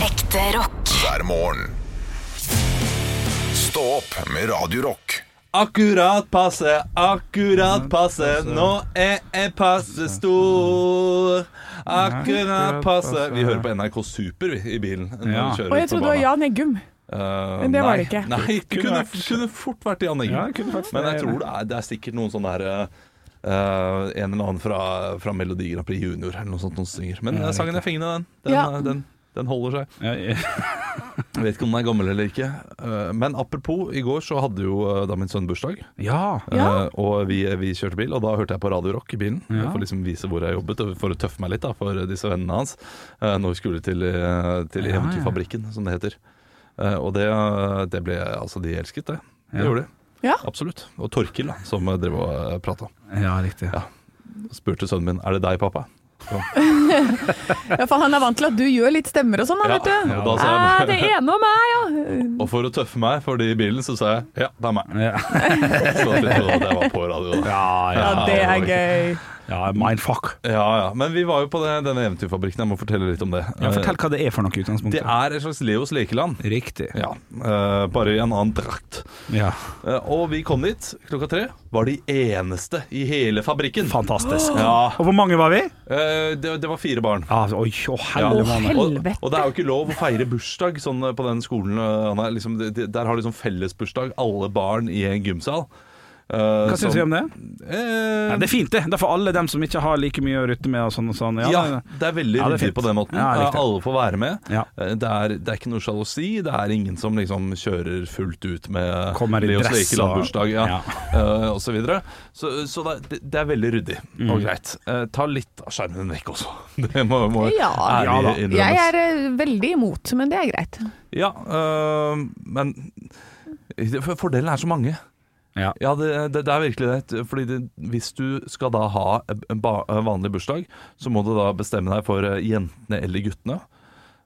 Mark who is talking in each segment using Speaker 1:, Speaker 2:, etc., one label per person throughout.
Speaker 1: Ekte rock.
Speaker 2: hver morgen. Stå opp med Radio Rock.
Speaker 3: Akkurat passe, akkurat passe, nå er jeg passe stor. Akkurat passe Vi hører på NRK Super vi, i bilen. Når
Speaker 4: Ja.
Speaker 3: vi kjører
Speaker 5: Og jeg
Speaker 3: på
Speaker 5: trodde det var
Speaker 3: banen.
Speaker 5: Jan Eggum.
Speaker 3: Eh,
Speaker 5: men det var det
Speaker 3: nei.
Speaker 5: ikke.
Speaker 3: Nei, det
Speaker 4: Kunne
Speaker 3: kunne,
Speaker 4: vært.
Speaker 3: kunne fort vært Jan Eggen.
Speaker 4: Ja, det kunne faktisk
Speaker 3: Men jeg
Speaker 4: det.
Speaker 3: tror det er, det er sikkert noen sånne her eh, En eller annen fra, fra Melodi Grand Prix Junior eller noe sånt noen synger. Men eh, sangen er fengende, den. Den,
Speaker 5: Ja.
Speaker 3: eh, den, den holder seg.
Speaker 4: Ja, ja.
Speaker 3: Jeg vet ikke om den er gammel eller ikke. Eh, Men apropos, i går så hadde jo eh, da min sønn bursdag.
Speaker 4: ja.
Speaker 5: Ja.
Speaker 3: Eh, og vi, vi kjørte bil, og da hørte jeg på Radio Rock i bilen.
Speaker 4: Ja.
Speaker 3: For å liksom vise hvor jeg jobbet, og for å tøffe meg litt da, for disse vennene hans. eh, når vi skulle til, eh, til
Speaker 4: Ja, ja.
Speaker 3: Eventyrfabrikken, som det heter. Eh, og det, eh, det ble Altså, de elsket det. Det
Speaker 4: Ja.
Speaker 3: gjorde de.
Speaker 5: Ja.
Speaker 3: Absolutt. Og Torkil, da, som eh, drev og prata.
Speaker 4: ja riktig.
Speaker 3: Ja. Spurte sønnen min er det deg, pappa.
Speaker 5: Ja, for han er vant til at du gjør litt stemmer og sånn, da,
Speaker 3: Ja, altså,
Speaker 5: vet du.
Speaker 3: og da sa
Speaker 5: Æ,
Speaker 3: jeg-
Speaker 5: det ene om meg, ja.
Speaker 4: Ah.
Speaker 3: Og for å tøffe meg for de i bilen, så sa jeg ja, det er meg.
Speaker 4: Ja.
Speaker 3: Så at de trodde at jeg var på radio. Da.
Speaker 4: Ja,
Speaker 5: Ja,
Speaker 4: ja.
Speaker 5: det er gøy.
Speaker 4: ja, mindfuck.
Speaker 3: Ja, ja. Men vi var jo på det, denne eventyrfabrikken, jeg må fortelle litt om det.
Speaker 4: Ja, fortell hva det er for noe i
Speaker 3: Eh, Det
Speaker 4: utgangspunktet.
Speaker 3: er et slags Leos lekeland.
Speaker 4: Riktig.
Speaker 3: Ja, eh, bare i en annen drakt.
Speaker 4: Ja.
Speaker 3: Eh, og vi kom dit klokka tre. Var de eneste i hele fabrikken.
Speaker 4: Fantastisk.
Speaker 3: Ja.
Speaker 4: Og hvor mange var vi?
Speaker 3: Eh, det, det var fire barn.
Speaker 4: Ah, oi, å,
Speaker 3: Ja.
Speaker 4: helle måned.
Speaker 3: Og,
Speaker 5: Helvete.
Speaker 3: og det er jo ikke lov å feire bursdag sånn eh, på den skolen. eh, Anna. Liksom, det- det- der har de sånn fellesbursdag, alle barn i en gymsal.
Speaker 4: Hva syns vi om det?
Speaker 3: Eh,
Speaker 4: Ja, det er fint, det. Det er for alle dem som ikke har like mye å rutte med og sånn og sånn.
Speaker 3: ja,
Speaker 4: nei, nei.
Speaker 3: det er veldig
Speaker 4: Ja, det er
Speaker 3: ryddig
Speaker 4: fint.
Speaker 3: på den måten.
Speaker 4: Ja, jeg likte det.
Speaker 3: alle får være med.
Speaker 4: Ja.
Speaker 3: Eh, Det er, det er ikke noe sjalusi. Det er ingen som liksom kjører fullt ut med
Speaker 4: Kommer i
Speaker 3: Leos
Speaker 4: dress og-
Speaker 3: Lekeland-bursdag ja.
Speaker 4: Ja.
Speaker 3: eh, og så videre. Så, så det, er- det er veldig ryddig
Speaker 4: Mm.
Speaker 3: og greit. Eh, ta litt av skjermen vekk også. Det må, må
Speaker 5: Ja.
Speaker 4: Ja da.
Speaker 3: ærlig innrømmes.
Speaker 5: Jeg er eh, veldig imot, men det er greit.
Speaker 3: Ja, øh, men for- fordelen er så mange.
Speaker 4: Ja.
Speaker 3: Ja, det, det, det er virkelig det. Fordi det, hvis du skal da ha en ba, en vanlig bursdag, så må du da bestemme deg for eh, jentene eller guttene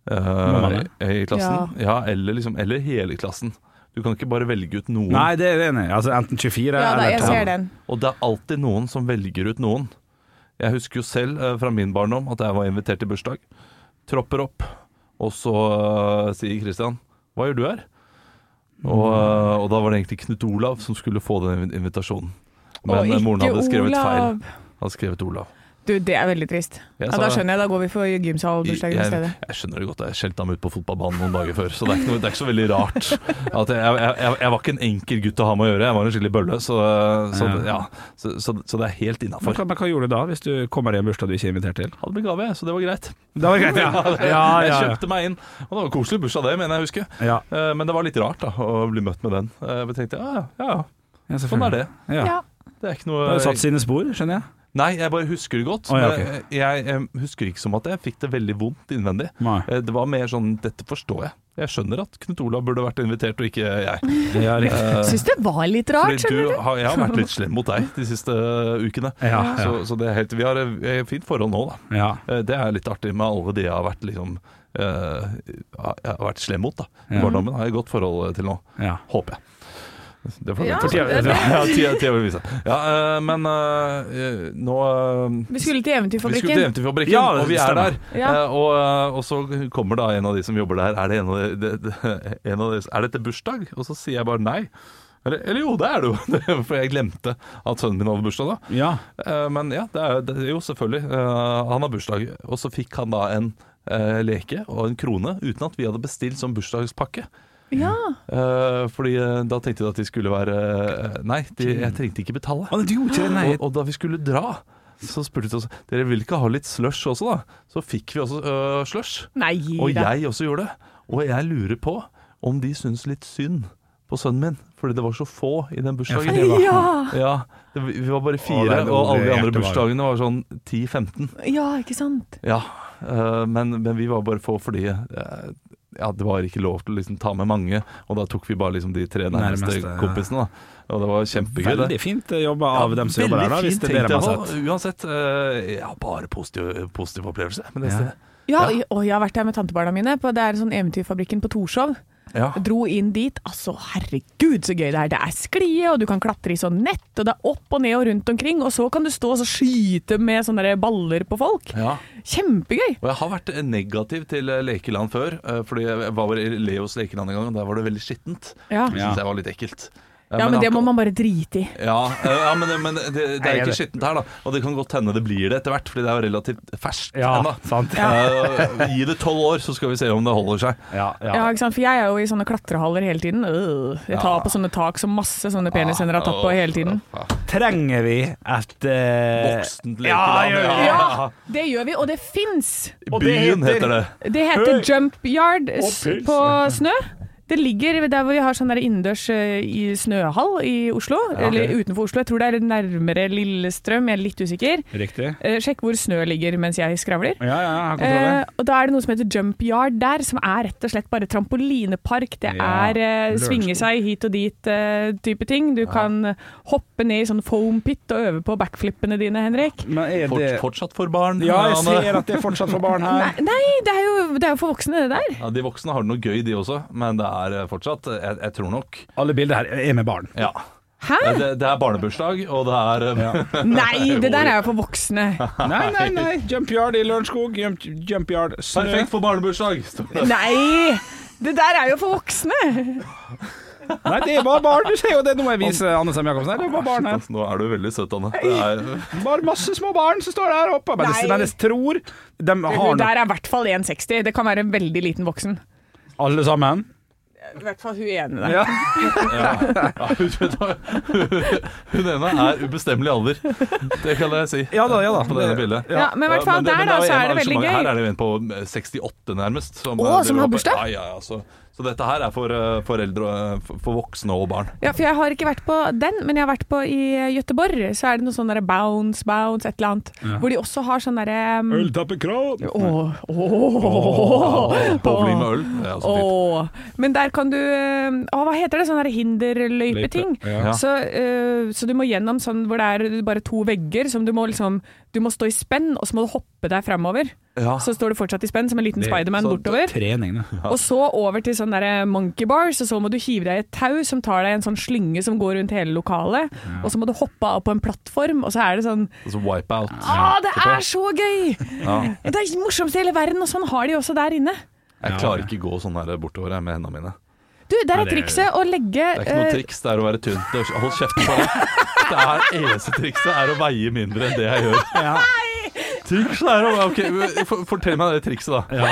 Speaker 3: eh,
Speaker 4: man det?
Speaker 3: i, i klassen. Ja, eller, liksom, eller hele klassen. Du kan ikke bare velge ut noen.
Speaker 4: Nei, det er jeg enig i. Altså, enten 24
Speaker 5: Ja da,
Speaker 4: eller
Speaker 5: jeg ser den.
Speaker 3: Og det er alltid noen som velger ut noen. Jeg husker jo selv eh, fra min barndom at jeg var invitert til bursdag. Tropper opp, og så eh, sier Christian 'Hva gjør du her?' Og, eh, og da var det egentlig Knut Olav som skulle få den invi- invitasjonen. Men
Speaker 5: Og
Speaker 3: eh, moren
Speaker 5: ikke
Speaker 3: hadde skrevet feil.
Speaker 5: Olav.
Speaker 3: Hadde skrevet Olav.
Speaker 5: Du, det er veldig trist.
Speaker 3: Jeg
Speaker 5: Ja,
Speaker 3: sa
Speaker 5: da
Speaker 3: det.
Speaker 5: skjønner jeg. Da går vi for gymsalbursdagen i
Speaker 3: jeg,
Speaker 5: stedet.
Speaker 3: jeg skjønner det godt. Jeg skjelte ham ut på fotballbanen noen dager før, så det er ikke, noe, det er ikke så veldig rart. At jeg, jeg, jeg, jeg var ikke en enkel gutt å ha med å gjøre, jeg var en skikkelig bølle, så, eh, så,
Speaker 4: Ja.
Speaker 3: ja, så, så, så det er helt
Speaker 4: Men
Speaker 3: innafor.
Speaker 4: hva, men hva gjorde du da, hvis du kommer i en bursdag du ikke er invitert til?
Speaker 3: Hadde med gave, jeg, så det var greit.
Speaker 4: Det var greit, ja. Ja, ja,
Speaker 3: Jeg
Speaker 4: ja.
Speaker 3: kjøpte meg inn, og det var en koselig bursdag det, mener jeg husker.
Speaker 4: ja.
Speaker 3: Eh, Men det var litt rart da, å bli møtt med den. Eh, Jeg tenkte, ja, ja, ja,
Speaker 4: ja
Speaker 3: sånn er
Speaker 4: selvfølgelig.
Speaker 3: det.
Speaker 4: Ja.
Speaker 5: Ja.
Speaker 3: Det er ikke
Speaker 4: Det har
Speaker 3: noe...
Speaker 4: jo satt sine spor, skjønner jeg.
Speaker 3: Nei, jeg bare husker det godt.
Speaker 4: Å, ja,
Speaker 3: men Jeg eh, husker ikke som at jeg fikk det veldig vondt innvendig.
Speaker 4: Nei.
Speaker 3: Eh, Det var mer sånn, dette forstår jeg. Jeg skjønner at Knut Olav burde vært invitert, og ikke jeg.
Speaker 4: Ja, riktig.
Speaker 3: Eh,
Speaker 5: Syns det var litt rart,
Speaker 3: Fordi
Speaker 5: skjønner
Speaker 3: du
Speaker 5: du.
Speaker 3: har, jeg har vært litt slem mot deg de siste eh, ukene.
Speaker 4: Ja,
Speaker 3: Så, så det er helt, vi har et fint forhold nå da.
Speaker 4: Ja.
Speaker 3: Eh, Det er litt artig med alle de jeg har vært, liksom, eh, jeg har vært slem mot. Da. I
Speaker 4: Ja.
Speaker 3: barndommen har jeg et godt forhold til nå,
Speaker 4: ja.
Speaker 3: håper jeg. Det får vi
Speaker 5: Ja,
Speaker 3: vente og se.
Speaker 4: det- det-
Speaker 3: ja, tida, tida vil vise. Ja, eh, men eh, nå eh,
Speaker 5: Vi skulle til
Speaker 3: vi skulle til
Speaker 5: Eventyrfabrikken.
Speaker 3: Eventyrfabrikken,
Speaker 4: Ja, det
Speaker 3: og vi er
Speaker 4: stemmer.
Speaker 3: der.
Speaker 5: Ja.
Speaker 3: Eh, og, eh, og så kommer da en av de som jobber der. Er det en av de, de, de, en av de Er dette bursdag? Og så sier jeg bare nei. Eller, eller jo, det er det jo, for jeg glemte at sønnen min hadde bursdag da.
Speaker 4: ja.
Speaker 3: Eh, Men ja, det er, det er jo selvfølgelig. eh, Han har bursdag, og så fikk han da en eh, leke og en krone uten at vi hadde bestilt som bursdagspakke.
Speaker 5: Ja.
Speaker 3: Eh, fordi eh, da tenkte jeg at de skulle være eh, Nei, de, jeg trengte ikke betale.
Speaker 4: Å, du gjorde ikke det, nei.
Speaker 3: Og, og da vi skulle dra, så spurte de oss Dere vil ikke ha litt slush også, da. Så fikk vi også uh, slush.
Speaker 5: Nei
Speaker 3: Og
Speaker 5: da.
Speaker 3: jeg også gjorde det. Og jeg lurer på om de syns litt synd på sønnen min, fordi det var så få i den bursdagen.
Speaker 4: for det var-
Speaker 5: Ja,
Speaker 3: Ja, det, vi var bare
Speaker 4: Å,
Speaker 3: fire,
Speaker 4: nei, det var
Speaker 3: og alle de
Speaker 4: det
Speaker 3: andre
Speaker 4: hjertet var.
Speaker 3: bursdagene var sånn 10-15.
Speaker 5: ja, ikke sant.
Speaker 3: Ja, eh, men, men vi var bare få fordi eh, ja, det var ikke lov til å liksom ta med mange, og da tok vi bare liksom de tre nærmeste
Speaker 4: Nærmeste, ja.
Speaker 3: kompisene. Da. Og det var kjempegøy, det.
Speaker 4: Veldig fint eh, jobba av dem som
Speaker 3: Veldig
Speaker 4: jobber der, da, hvis
Speaker 3: fint
Speaker 4: det er det de
Speaker 3: tenkt,
Speaker 4: har
Speaker 3: jeg
Speaker 4: sett.
Speaker 3: nå. Uansett, eh, ja, bare positiv, positiv opplevelse med det
Speaker 4: Ja.
Speaker 3: stedet.
Speaker 5: Ja, og jeg har vært der med tantebarna mine. På, det er sånn Eventyrfabrikken på Torshov.
Speaker 3: Ja.
Speaker 5: Dro inn dit. Altså, herregud så gøy det er. Det er sklie, og du kan klatre i sånn nett, og det er opp og ned og rundt omkring. Og så kan du stå og så skyte med sånne der baller på folk.
Speaker 3: Ja.
Speaker 5: Kjempegøy!
Speaker 3: Og jeg har vært negativ til eh, lekeland før, eh, fordi jeg var i Leos lekeland en gang, og der var det veldig skittent.
Speaker 5: Ja,
Speaker 3: Det
Speaker 5: ja,
Speaker 3: synes jeg var litt ekkelt. Eh,
Speaker 5: men det
Speaker 3: akkurat-
Speaker 5: må man bare drite i.
Speaker 3: Ja, eh, ja men, men det, det
Speaker 1: Nei,
Speaker 3: er
Speaker 1: jeg
Speaker 3: ikke
Speaker 1: vet.
Speaker 3: skittent her, da. Og det kan godt hende det blir det etter hvert, fordi det er jo relativt ferskt ennå.
Speaker 1: Ja, sant. Ja,
Speaker 3: Eh, gi det tolv år, så skal vi se om det holder seg.
Speaker 1: ja.
Speaker 5: Ja, ikke sant? For jeg er jo i sånne klatrehaller hele tiden. Øh, Jeg tar på sånne tak som masse sånne penishender har tatt på hele tiden.
Speaker 1: Trenger vi et eh,
Speaker 3: Voksent lekeland.
Speaker 1: Ja, ja, ja.
Speaker 5: Ja, det gjør vi, og det fins!
Speaker 1: Og det
Speaker 3: Byen
Speaker 1: heter-
Speaker 3: heter det.
Speaker 5: Det heter
Speaker 1: Hei!
Speaker 5: jump yard s-
Speaker 1: pils.
Speaker 5: på snø. Det ligger der hvor vi har sånn der innendørs eh, i snøhall i Oslo. Eller utenfor Oslo. Jeg tror det er nærmere Lillestrøm, jeg er litt usikker.
Speaker 4: Riktig.
Speaker 5: Eh, Sjekk hvor snø ligger mens jeg skravler.
Speaker 4: Ja, ja, jeg har kontroll.
Speaker 5: Eh, og da er det noe som heter jump yard der, som er rett og slett bare trampolinepark. Det
Speaker 4: Ja,
Speaker 5: er eh, svinge seg hit og dit eh, type ting. Du kan hoppe ned i sånn foam pit og øve på backflippene dine, Henrik.
Speaker 4: Men er
Speaker 3: Fort,
Speaker 4: det
Speaker 3: fortsatt for barn.
Speaker 4: Ja, jeg
Speaker 3: Anne.
Speaker 4: ser at det er fortsatt for barn her.
Speaker 5: Nei, nei det, er jo, det er jo for voksne, det der.
Speaker 3: Ja, de voksne har det noe gøy, de også, men det er eh, fortsatt Jeg, jeg tror nok
Speaker 4: Alle bilder her er med barn.
Speaker 3: Ja.
Speaker 5: Hæ?
Speaker 3: Eh, Det, det er barnebursdag, og det er eh,
Speaker 5: Nei, det der er jo for voksne.
Speaker 4: Nei, nei, nei. Jumpyard i Lørenskog. Jump, jumpyard snø.
Speaker 3: Perfekt for barnebursdag! står det.
Speaker 5: Nei! Det der er jo for voksne!
Speaker 4: Nei, det er bare barn. Du ser jo det. Nå må jeg vise Anne Sem Jacobsen her. Det er bare barn her.
Speaker 3: Altså, Nå er du veldig søt, Anne. Det er,
Speaker 4: Bare masse små barn som står der oppe. Men
Speaker 5: Nei.
Speaker 4: jeg- men jeg tror de har
Speaker 5: Det
Speaker 4: nok
Speaker 5: der er i hvert fall 1,60. Det kan være en veldig liten voksen.
Speaker 4: alle sammen.
Speaker 5: I hvert fall hun ene der.
Speaker 4: Ja.
Speaker 3: ja, hun, hun ene er ubestemmelig alder. Det kan jeg si.
Speaker 4: Ja da, ja da.
Speaker 3: På dette bildet.
Speaker 5: Ja, men i hvert fall der,
Speaker 3: men
Speaker 5: da,
Speaker 3: det
Speaker 5: så
Speaker 3: en
Speaker 5: er det veldig
Speaker 3: arrangement.
Speaker 5: gøy.
Speaker 3: Her er det jo en på 68 nærmest. Som,
Speaker 5: Å,
Speaker 3: eh,
Speaker 5: som
Speaker 3: driver
Speaker 5: har
Speaker 3: opp-
Speaker 5: bursdag?
Speaker 3: Ja, ja, ja, så, så dette her er for, eh, for eldre, og, eh, for- for voksne og barn.
Speaker 5: Ja, for jeg har ikke vært på den, men jeg har vært på i Gøteborg. Så er det noe sånn derre bounce, bounce, et eller annet. Hvor de også har sånn derre um,
Speaker 4: Øltappekran.
Speaker 5: Åh, åh,
Speaker 3: Bowling med øl. Det er også fint.
Speaker 5: åh. Men der kan du um, Å, hva heter det? Sånn derre hinderløypeting.
Speaker 4: Løype, ja.
Speaker 3: Ja.
Speaker 5: Så, eh, så du må gjennom sånn hvor det er bare to vegger som du må liksom Du må stå i spenn, og så må du hoppe deg framover.
Speaker 3: Ja.
Speaker 5: Så står du fortsatt i spenn som en liten
Speaker 4: Det-
Speaker 5: Spiderman
Speaker 3: så-
Speaker 5: bortover.
Speaker 4: Trening, da.
Speaker 5: Og så over til sånn der monkey bars, og så må du hive deg i et tau som tar deg i en sånn slynge som går rundt hele lokalet. Og så må du hoppe av på en plattform, og så er det sånn
Speaker 3: Altså wipe out.
Speaker 5: Å, det er så gøy!
Speaker 3: Ja.
Speaker 5: Det er det morsomste i hele verden, og sånn har de også der inne.
Speaker 3: Jeg
Speaker 4: Ja.
Speaker 3: klarer ikke gå sånn her bortover jeg, med hendene mine.
Speaker 5: Du, der
Speaker 4: Nei,
Speaker 5: er
Speaker 4: det er-
Speaker 5: trikset å legge
Speaker 3: Det er ikke noe
Speaker 5: eh,
Speaker 3: triks, det er å være tynn. Det er- Hold kjeft på deg. Det er eneste trikset er å veie mindre enn det jeg gjør. Triks er å Ok, for- fortell meg det trikset, da.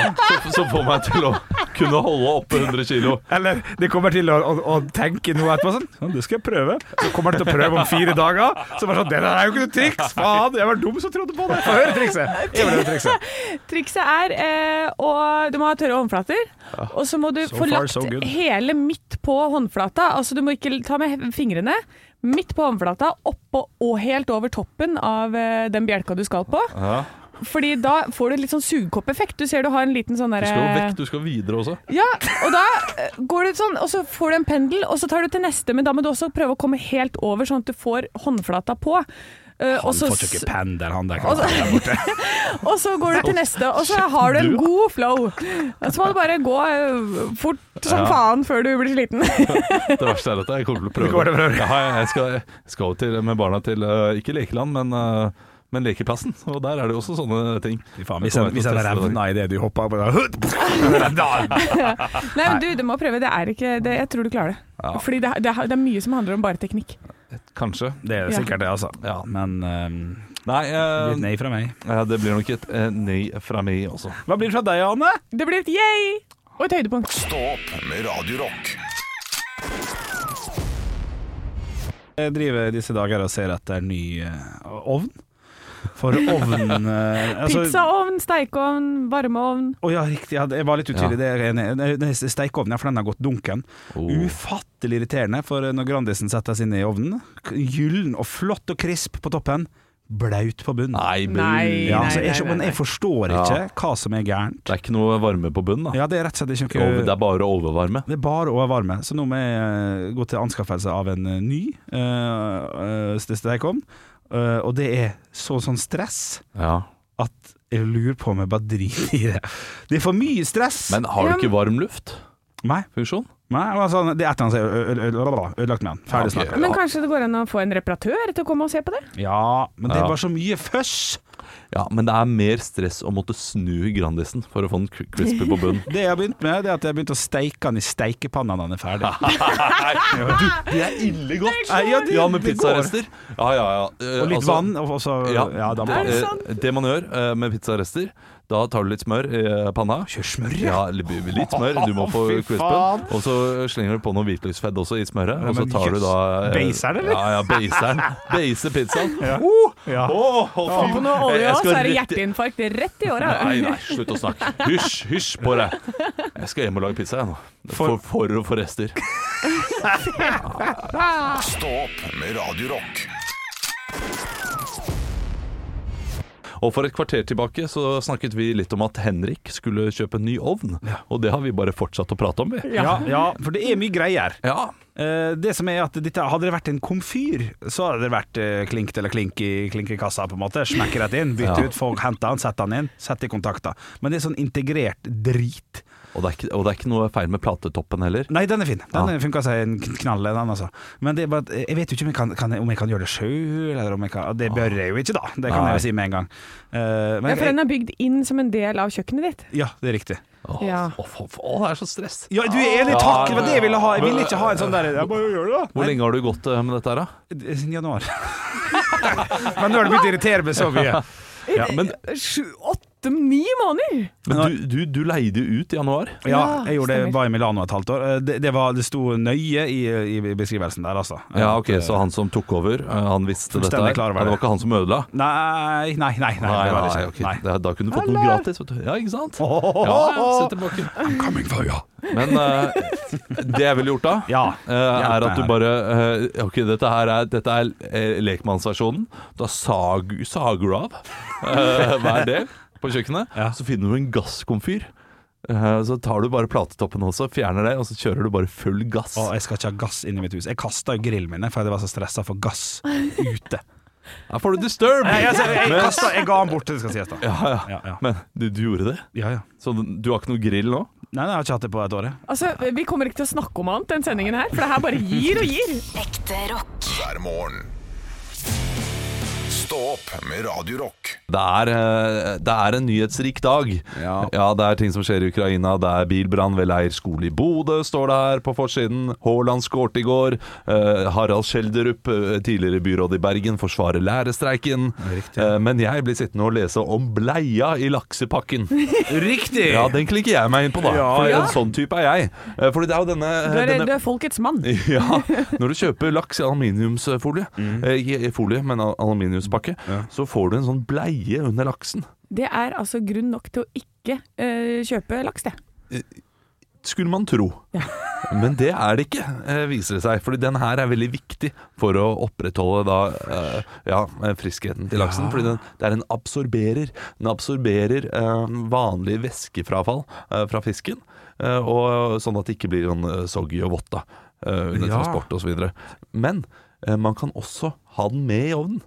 Speaker 3: Så, så får meg til å kunne holde oppe 100 kilo.
Speaker 4: Eller de kommer til å, å, å tenke noe etterpå sånn «Ja, Det skal jeg prøve. Så kommer de til å prøve om fire dager. Så bare sånn Det der er jo ikke noe triks! Faen, jeg var dum som trodde på det! Få høre trikset. Jeg vil høre trikset.
Speaker 5: Trikset er eh, å Du må ha tørre håndflater, og så må du
Speaker 4: So
Speaker 5: få
Speaker 4: far,
Speaker 5: lagt
Speaker 4: so good.
Speaker 5: hele midt på håndflata. Altså du må ikke ta med he- fingrene. Midt på håndflata, oppå og helt over toppen av eh, den bjelka du skal på.
Speaker 3: Ja.
Speaker 5: Fordi da får du litt sånn sugekoppeffekt. Du ser du har en liten sånn
Speaker 3: Du skal jo vekk,
Speaker 5: derre
Speaker 3: du skal videre også.
Speaker 5: ja, og da eh, går du sånn, og så får du en pendel, og så tar du til neste, men da må du også prøve å komme helt over, sånn at du får håndflata på. Eh, og
Speaker 4: Han
Speaker 5: så Altså-
Speaker 4: får ikke pendel, han der.
Speaker 5: og så, og så går du til neste, og så har du en god flow. Så må du bare gå ø, fort som
Speaker 3: Ja.
Speaker 5: faen før du blir sliten.
Speaker 3: Det verste er at jeg kommer til å prøve. det. Ja, jeg- jeg skal, jeg skal jo til, med barna til eh, ikke lekeland, men, eh, men lekeplassen. Og der er det jo også sånne ting.
Speaker 4: Fy faen, hvis jeg, hvis jeg revna i det du hoppa på
Speaker 5: Nei, men du, du må prøve. Det er ikke det, Jeg tror du klarer det.
Speaker 3: Ja.
Speaker 5: Fordi det, det, er- det er mye som handler om bare teknikk.
Speaker 3: Kanskje.
Speaker 4: Det er
Speaker 5: Ja.
Speaker 4: sikkert det, altså.
Speaker 3: Ja.
Speaker 4: Men eh,
Speaker 3: Nei, eh,
Speaker 4: litt nei fra meg.
Speaker 3: ja, det blir nok et eh, nei fra meg også.
Speaker 4: Hva blir det fra deg, Anne?
Speaker 5: Det blir et yay og et høydepunkt.
Speaker 2: Stå opp med Radio Rock.
Speaker 4: Jeg driver disse dager og ser etter ny eh, ovn. For ovn eh, altså-
Speaker 5: Pizzaovn, steikeovn, varmeovn.
Speaker 4: Å ja, riktig. Ja, jeg var litt utydelig. Det er enig. Det er- det er Steikeovnen, ja, for den har gått dunken.
Speaker 5: Oh.
Speaker 4: Ufattelig irriterende, for eh, når Grandisen settes inn i ovnen, k- gyllen og flott og krisp på toppen, blaut på bunnen.
Speaker 3: Nei, bu.
Speaker 5: Nei,
Speaker 4: ja,
Speaker 5: nei,
Speaker 4: altså, jeg,
Speaker 5: nei, nei,
Speaker 4: men jeg
Speaker 5: nei.
Speaker 4: forstår ikke hva som er gærent.
Speaker 3: Det er ikke noe varme på bunnen, da.
Speaker 4: Ja, det er rett og slett ikke
Speaker 3: Over,
Speaker 4: noe
Speaker 3: det er bare overvarme.
Speaker 4: Det er bare overvarme, så nå må jeg eh, gå til anskaffelse av en eh, ny uh, steikeovn. Eh, og det er så sånn stress
Speaker 3: Ja.
Speaker 4: at jeg lurer på om jeg bare driter i det. Det er for mye stress!
Speaker 3: Men har du
Speaker 5: Ja,
Speaker 3: ikke varm luft?
Speaker 4: Nei.
Speaker 3: funksjon?
Speaker 4: Nei, altså, det er et eller annet som er ø- ø- ø- ø- ødelagt med han.
Speaker 3: Ja,
Speaker 4: Ferdig
Speaker 3: ok.
Speaker 4: snakka.
Speaker 5: Men kanskje det går an å få en reparatør til å komme og se på det?
Speaker 4: Ja, men det
Speaker 3: Ja.
Speaker 4: var så mye føss!
Speaker 3: Ja, men det er mer stress å måtte snu Grandisen for å få den cr- crispy på bunnen.
Speaker 4: Det jeg har begynt med, det er at jeg har begynt å steike han i steikepanna når han er ferdig.
Speaker 3: Det er ille godt!
Speaker 4: Nei, ja, det-
Speaker 3: Ja, med
Speaker 4: det går.
Speaker 3: pizzarester. Ja, ja, ja. Eh,
Speaker 4: Og litt
Speaker 3: altså-
Speaker 4: vann, og så ja. da må
Speaker 5: Er det
Speaker 3: eh,
Speaker 5: sant?
Speaker 3: det man gjør eh, med pizzarester, da tar du litt smør i eh, panna.
Speaker 4: Kjør smør, ja!
Speaker 3: Ja, litt litt smør. Du må få
Speaker 4: Fy
Speaker 3: crispen.
Speaker 4: faen.
Speaker 3: Og så slenger du på noe hvitløksfett også i smøret.
Speaker 4: Ja,
Speaker 3: Og så
Speaker 4: men
Speaker 3: tar du da øh,
Speaker 4: jøss. Baser den, eller?
Speaker 3: Ja, ja, baser den. Baser pizzaen.
Speaker 4: Ja. Ja.
Speaker 3: Åh, fy-
Speaker 5: Få på noe
Speaker 3: Jeg-
Speaker 5: olje
Speaker 3: jeg
Speaker 5: òg,
Speaker 3: skal
Speaker 5: så er det
Speaker 3: rett i-
Speaker 5: hjerteinfarkt rett i åra.
Speaker 3: Nei, nei, slutt å snakke. Hysj, hysj på deg. Jeg skal hjem og lage pizza, jeg nå. For, for å få rester.
Speaker 2: Stå opp med Radio Rock.
Speaker 3: Og for et kvarter tilbake så snakket vi litt om at Henrik skulle kjøpe en ny ovn. Og det har vi bare fortsatt å prate om, vi.
Speaker 4: Ja, ja, for det er mye greier.
Speaker 3: Ja.
Speaker 4: Eh, det som er at dette, Hadde det vært en komfyr, så hadde det vært eh, klink eller klink i, klink i kassa. på en måte Smekk rett inn, bytte
Speaker 3: Ja.
Speaker 4: ut, folk hente han, sette han inn, sette i kontakter. Men det er sånn integrert drit.
Speaker 3: Og det, er ikke, og det er ikke noe feil med platetoppen heller.
Speaker 4: Nei, den er fin. Den
Speaker 3: Ja.
Speaker 4: funka seg en knall, den, altså. Men det er bare, at jeg vet jo ikke om jeg kan, kan, jeg- om jeg kan gjøre det sjøl, eller om jeg kan Det bør jeg jo ikke, da. Det kan
Speaker 3: Nei.
Speaker 4: jeg jo si med en gang. Eh, men
Speaker 5: Ja, for
Speaker 4: jeg,
Speaker 5: den er bygd inn som en del av kjøkkenet ditt.
Speaker 4: ja, det er riktig.
Speaker 3: Åh,
Speaker 5: Ja.
Speaker 3: åh, åh, åh, det er så stress.
Speaker 4: Ja, du er enig,
Speaker 3: Ja,
Speaker 4: takk! Det var det jeg ville ha. Jeg ville ikke ha en sånn der Jeg bare gjør det, da.
Speaker 3: Hvor lenge har du gått eh, med dette her, da?
Speaker 4: Nei, Siden januar. men nå har det begynt å irritere meg så mye.
Speaker 3: Ja, men
Speaker 5: Sju, åtte, ni måneder!
Speaker 3: men du, du, du leide jo ut i januar.
Speaker 4: Ja,
Speaker 5: Ja,
Speaker 4: jeg gjorde det,
Speaker 5: stemmer.
Speaker 4: var i Milano et halvt år. Eh, Det, det, var, det sto nøye i, i beskrivelsen der, altså.
Speaker 3: Ja, ok,
Speaker 4: At, eh,
Speaker 3: Så han som tok over, eh, han visste dette?
Speaker 4: Fullstendig
Speaker 3: her Ja,
Speaker 4: klar over
Speaker 3: Det var
Speaker 4: det.
Speaker 3: ikke han som ødela?
Speaker 4: Eh, Nei, nei, nei. nei, det var det ikke.
Speaker 3: ok.
Speaker 4: nei.
Speaker 3: Det- Da kunne du fått noe
Speaker 4: Eller?
Speaker 3: gratis. Vet du. Ja, ikke sant?
Speaker 4: Åhåhå.
Speaker 3: Ja, sett tilbake.
Speaker 4: I'm coming for you.
Speaker 3: Men eh, det jeg ville gjort da,
Speaker 4: Ja.
Speaker 3: eh,
Speaker 4: Hjelp
Speaker 3: er
Speaker 4: meg
Speaker 3: at du
Speaker 4: her.
Speaker 3: bare eh, Ok, dette her er, dette er eh, lekmannsversjonen. Da sag, sager du av eh, hver del på kjøkkenet.
Speaker 4: Ja.
Speaker 3: Så finner du en gasskomfyr. Eh, så tar du bare platetoppen også, fjerner det, og så kjører du bare full gass.
Speaker 4: Å, jeg skal ikke ha gass inn i mitt hus. Jeg kasta grillen min fordi jeg var så stressa for gass ute.
Speaker 3: Her får du disturb!
Speaker 4: Nei, altså, jeg,
Speaker 3: Men-
Speaker 4: kastet- jeg ga den bort, det skal sies, da.
Speaker 3: ja, ja.
Speaker 4: Ja, ja.
Speaker 3: Men du, du gjorde det?
Speaker 4: Ja, ja.
Speaker 3: Så du har ikke noe grill nå?
Speaker 4: Nei, nei, jeg har ikke hatt det på et år. jeg.
Speaker 5: Altså, Vi kommer ikke til å snakke om annet den sendingen her, for det her bare gir og gir.
Speaker 6: Ekte rock.
Speaker 2: hver morgen. Stå opp med Radio Rock.
Speaker 3: Det er, eh, det er en nyhetsrik dag.
Speaker 4: Ja.
Speaker 3: det er ting som skjer i Ukraina. Det er bilbrann ved leir skole i Bodø, står det her på forsiden. Haaland skårte i går. Eh, Harald Schjelderup, eh, tidligere byråd i Bergen, forsvarer lærerstreiken. Eh, men jeg blir sittende og lese om bleia i laksepakken.
Speaker 4: Riktig!
Speaker 3: Ja, den klikker jeg meg inn på, da.
Speaker 4: Ja,
Speaker 3: for
Speaker 5: ja.
Speaker 3: en sånn type er jeg. Eh, fordi det er jo denne,
Speaker 5: Du er,
Speaker 3: denne
Speaker 5: du er folkets mann.
Speaker 3: ja, når du kjøper laks i aluminiumsfolie,
Speaker 5: Mm.
Speaker 3: eh, ikke folie, men al- aluminiumspakke, så får du en sånn bleie under laksen.
Speaker 5: Det er altså grunn nok til å ikke eh, kjøpe laks, det.
Speaker 3: Skulle man tro. Men det er det ikke, eh, viser det seg. Fordi den her er veldig viktig for å opprettholde da, eh, ja, eh, friskheten til laksen. Fordi den, det er en absorberer. Den absorberer eh, vanlig væskefrafall eh, fra fisken, eh, og, sånn at det ikke blir sånn eh, soggy og vått da, eh, under
Speaker 4: Ja.
Speaker 3: transport osv. Men eh, man kan også ha den med i ovnen.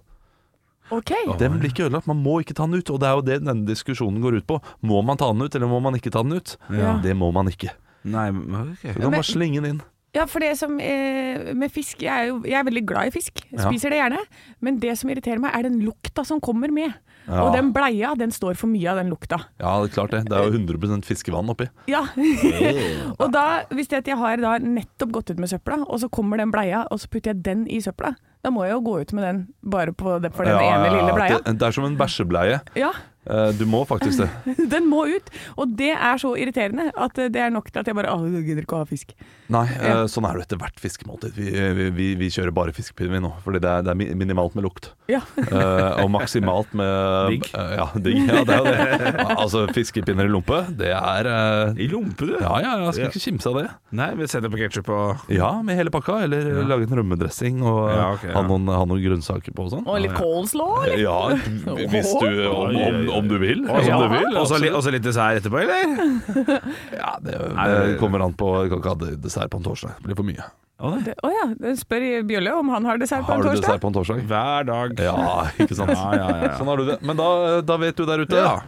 Speaker 5: Ok.
Speaker 3: Den blir ikke ødelagt, man må ikke ta den ut. Og det er jo det denne diskusjonen går ut på. Må man ta den ut, eller må man ikke ta den ut?
Speaker 5: Ja.
Speaker 3: Det må man ikke.
Speaker 4: Nei, men- ok.
Speaker 3: Du kan
Speaker 5: Men-
Speaker 3: bare slenge den inn.
Speaker 5: Ja, for det som eh, med fisk jeg er, jo, jeg er veldig glad i fisk,
Speaker 3: Ja.
Speaker 5: spiser det gjerne. Men det som irriterer meg, er den lukta som kommer med.
Speaker 3: Ja.
Speaker 5: Og den bleia, den står for mye av den lukta.
Speaker 3: Ja, det er klart det. Det er jo 100 fiskevann oppi.
Speaker 5: Ja. og da, hvis det at jeg har da nettopp gått ut med søpla, og så kommer den bleia, og så putter jeg den i søpla, da må jeg jo gå ut med den bare på den, for den
Speaker 3: Ja, ja,
Speaker 5: ene
Speaker 3: ja.
Speaker 5: lille bleia.
Speaker 3: Det, det er som en bæsjebleie.
Speaker 5: Ja,
Speaker 3: Eh, Du må faktisk det.
Speaker 5: den må ut. Og det er så irriterende at eh, det er nok til at jeg bare Å, jeg gidder ikke å ha fisk.
Speaker 3: Nei, eh, sånn er det etter hvert fiskemåltid. Vi, vi, vi, vi kjører bare fiskepinner vi nå, fordi det er, det er mi- minimalt med lukt.
Speaker 5: Ja.
Speaker 3: Eh, og maksimalt med
Speaker 4: Digg.
Speaker 3: Eh, ja, digg. Ja, det er jo det. Altså, fiskepinner i lompe, det er eh,
Speaker 4: I lompe, du.
Speaker 3: Ja, ja, ja, skal ikke kimse av det.
Speaker 4: Nei, vi setter på ketsjup og
Speaker 3: Ja, med hele pakka, eller eh, lage en rømmedressing og eh,
Speaker 4: Ja, ok, ja.
Speaker 3: ha, noen, ha noen grønnsaker på og sånn.
Speaker 5: Og litt coleslaw, eller?
Speaker 3: Ja, hvis du om, om, om du vil.
Speaker 4: Og
Speaker 3: Som du vil.
Speaker 4: så li- og så litt dessert etterpå, eller?
Speaker 3: Ja, det, det kommer an på Kan ikke ha dessert på en torsdag. Det blir for mye.
Speaker 5: Det- Å ja, spør Bjølle om han har dessert på
Speaker 3: Har
Speaker 5: en
Speaker 3: du
Speaker 5: torsdag.
Speaker 3: dessert på en torsdag?
Speaker 4: Hver dag.
Speaker 3: Ja, ikke sant.
Speaker 4: Ja, ja, ja, ja.
Speaker 3: Sånn har du det. Men da, da vet du der ute.
Speaker 4: Ja.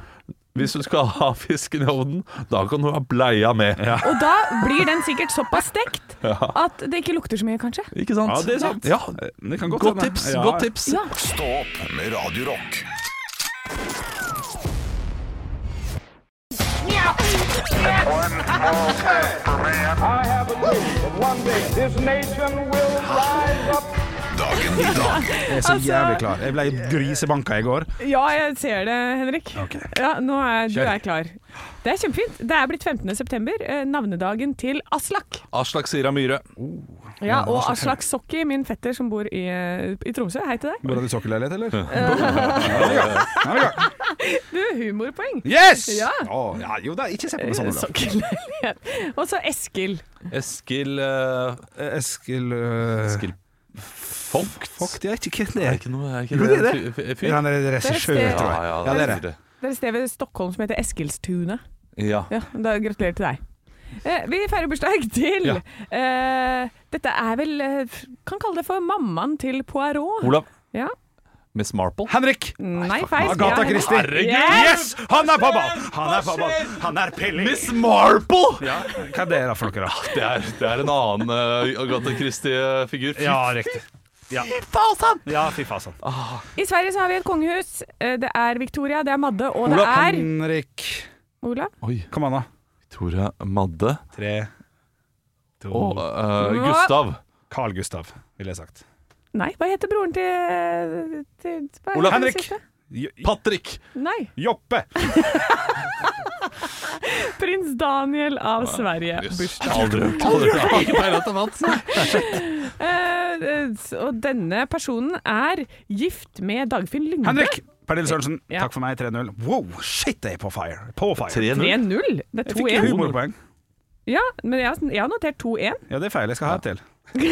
Speaker 3: Hvis du skal ha fisken i ovnen, da kan du ha bleia med.
Speaker 5: Og da blir den sikkert såpass stekt at det ikke lukter så mye, kanskje.
Speaker 3: Ikke sant?
Speaker 4: Ja, det er sant.
Speaker 3: Ja.
Speaker 4: Det kan godt
Speaker 3: Godt
Speaker 4: hende.
Speaker 3: tips,
Speaker 4: Ja.
Speaker 3: godt tips.
Speaker 5: Ja.
Speaker 2: Stå opp med Radio Rock.
Speaker 6: I have a dream that one day this nation will rise up.
Speaker 2: Dagen i dag
Speaker 4: Jeg er så
Speaker 5: Altså-
Speaker 4: jævlig klar. Jeg ble grisebanka i går.
Speaker 5: Ja, jeg ser det, Henrik.
Speaker 4: Ok.
Speaker 5: Ja, nå er du
Speaker 4: Kjør.
Speaker 5: er klar. Det er kjempefint. Det er blitt 15. september, eh, navnedagen til Aslak.
Speaker 3: Aslak Sira Myhre.
Speaker 5: Ja, og Aslak Sokki, min fetter som bor i, eh, i Tromsø. Hei til deg.
Speaker 4: Bor han i sokkelleilighet, eller?
Speaker 5: Du, humorpoeng.
Speaker 4: Yes!
Speaker 5: Ja.
Speaker 4: Å, ja, jo da, ikke se på meg sånn. Olav.
Speaker 5: Sokkelleilighet. Og så Eskil.
Speaker 3: Eskil eh,
Speaker 4: Eskil øh,
Speaker 3: Eskil Vogt?
Speaker 4: Fuck, det er ikke hvem det
Speaker 3: Er
Speaker 4: er.
Speaker 3: ikke noe er ikke
Speaker 4: Jo, det er
Speaker 3: en fy-
Speaker 4: Ja,
Speaker 3: fyr?
Speaker 4: Han er regissør,
Speaker 5: Det er
Speaker 4: tror jeg. Ja, det er det.
Speaker 5: Det er et sted ved Stockholm som heter Eskilstuna.
Speaker 3: Ja.
Speaker 5: Ja, da Gratulerer til deg. Eh, vi feirer bursdag til
Speaker 3: Ja.
Speaker 5: eh, Dette er vel eh, f- Kan kalle det for mammaen til Poirot.
Speaker 3: Olav.
Speaker 5: Ja.
Speaker 3: Miss Marple.
Speaker 4: Henrik!
Speaker 5: Nei, feil.
Speaker 4: Agatha
Speaker 5: Ja,
Speaker 4: Christie.
Speaker 5: Henrik.
Speaker 4: Yes! Han er på ball! Han er på ball! Han er pilling!
Speaker 3: Miss Ah, Marple!
Speaker 4: Ja, hva er det da for noe, da?
Speaker 3: Det er, det er en annen eh, Agatha Christie-figur. Fy
Speaker 4: Ja, riktig. Ja.
Speaker 3: faen!
Speaker 4: Ja, fy sånn. fasan.
Speaker 5: I Sverige så har vi et kongehus. Eh, Det er Victoria, det er Madde, og det
Speaker 4: Olav
Speaker 5: er
Speaker 4: Henrik
Speaker 5: Olav.
Speaker 3: Oi.
Speaker 4: Kom an, da.
Speaker 3: Victoria Madde
Speaker 4: Tre, to
Speaker 3: og eh, Gustav.
Speaker 4: Carl Gustav, ville jeg sagt.
Speaker 5: Nei, hva heter broren til, til hva heter
Speaker 3: Olav.
Speaker 5: den
Speaker 4: Henrik.
Speaker 5: siste?
Speaker 4: Jo-
Speaker 3: Patrick!
Speaker 5: Nei.
Speaker 4: Joppe!
Speaker 5: Prins Daniel av Sverige.
Speaker 3: Jøss, Aldri hørt Aldri hørt om han.
Speaker 5: Eh, eh, s- og denne personen er gift med Dagfinn Lyngve.
Speaker 4: Henrik! Pernille Sørensen,
Speaker 5: Ja.
Speaker 4: takk for meg. 3-0. Wow, shit, jeg er på fire. På fire.
Speaker 3: 3-0.
Speaker 5: 3-0. Det er
Speaker 4: Jeg fikk
Speaker 5: 2-1.
Speaker 4: humorpoeng.
Speaker 5: Ja, men jeg, har- jeg har notert 2-1.
Speaker 4: Ja, det er feil. Jeg skal ha et til. Nei,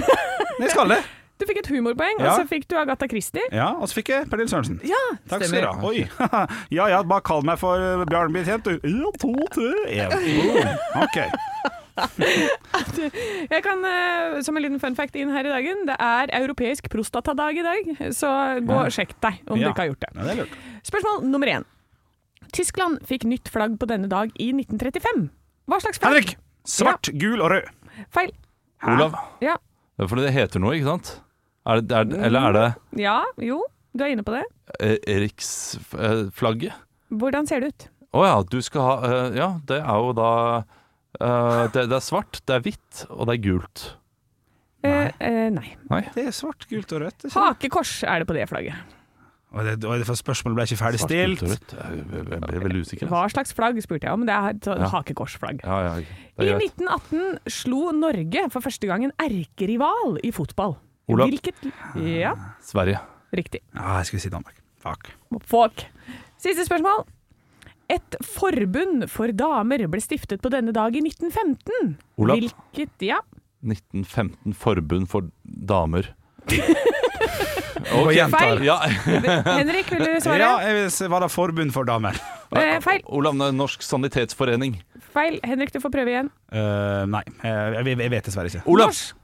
Speaker 4: jeg skal det.
Speaker 5: Du fikk et humorpoeng,
Speaker 4: Ja.
Speaker 5: og så fikk du Agatha Christie.
Speaker 4: Ja, og så fikk jeg Pernille Sørensen.
Speaker 5: Ja,
Speaker 4: Takk skal du
Speaker 5: stemmer.
Speaker 4: ha. Oi. Ja ja, bare kall meg for eh, Bjarne Betjent, du. Ja, to, tre, én. Boom. OK.
Speaker 5: Jeg kan, eh, som en liten fun fact inn her i dagen, det er europeisk prostatadag i dag, så gå og sjekk deg om
Speaker 4: Ja.
Speaker 5: du ikke har gjort det.
Speaker 4: Ja, det er lurt.
Speaker 5: Spørsmål nummer én. Tyskland fikk nytt flagg på denne dag i 1935. Hva slags flagg?
Speaker 4: Henrik! Svart, gul og rød.
Speaker 5: Feil.
Speaker 3: Olav.
Speaker 5: Ja.
Speaker 3: Det er fordi det heter noe, ikke sant? Er det, er, det- eller er det
Speaker 5: ja, jo, du er inne på det.
Speaker 3: eh, riksflagget?
Speaker 5: Hvordan ser det ut?
Speaker 3: Å ja, du skal ha eh, Ja, det er jo da eh, det, det er svart, det er hvitt, og det er gult.
Speaker 5: Nei. Eh, nei.
Speaker 4: Det er svart, gult og rødt. Og
Speaker 5: Hakekors er det på det flagget.
Speaker 4: det, og det for spørsmålet ble ikke ferdig
Speaker 3: Svart,
Speaker 4: stilt.
Speaker 3: gult og rødt. Jeg jeg- jeg ble veldig usikker. altså.
Speaker 5: Hva slags flagg, spurte jeg om. Det er et sånt
Speaker 3: Ja.
Speaker 5: hakekorsflagg.
Speaker 3: Ja, ja, det
Speaker 5: I
Speaker 3: er greit.
Speaker 5: 1918 slo Norge for første gang en erkerival i fotball.
Speaker 3: Olav.
Speaker 5: Hvilket Ja,
Speaker 3: Sverige.
Speaker 5: riktig.
Speaker 4: Ja, jeg skulle si Danmark. Fuck.
Speaker 5: Fuck. Siste spørsmål. Et forbund for damer ble stiftet på denne dag i 1915.
Speaker 3: Olav.
Speaker 5: Hvilket Ja.
Speaker 3: 1915 forbund for damer.
Speaker 4: Og jenter.
Speaker 5: Feil.
Speaker 3: Ja,
Speaker 5: Henrik, vil du svare?
Speaker 4: Ja, jeg vil se, var det forbund for damer?
Speaker 5: Eh, feil.
Speaker 3: Olav, det er Norsk sanitetsforening.
Speaker 5: Feil. Henrik, du får prøve igjen.
Speaker 4: Eh, nei, jeg, jeg- jeg vet dessverre ikke.
Speaker 3: Olav!
Speaker 5: Norsk-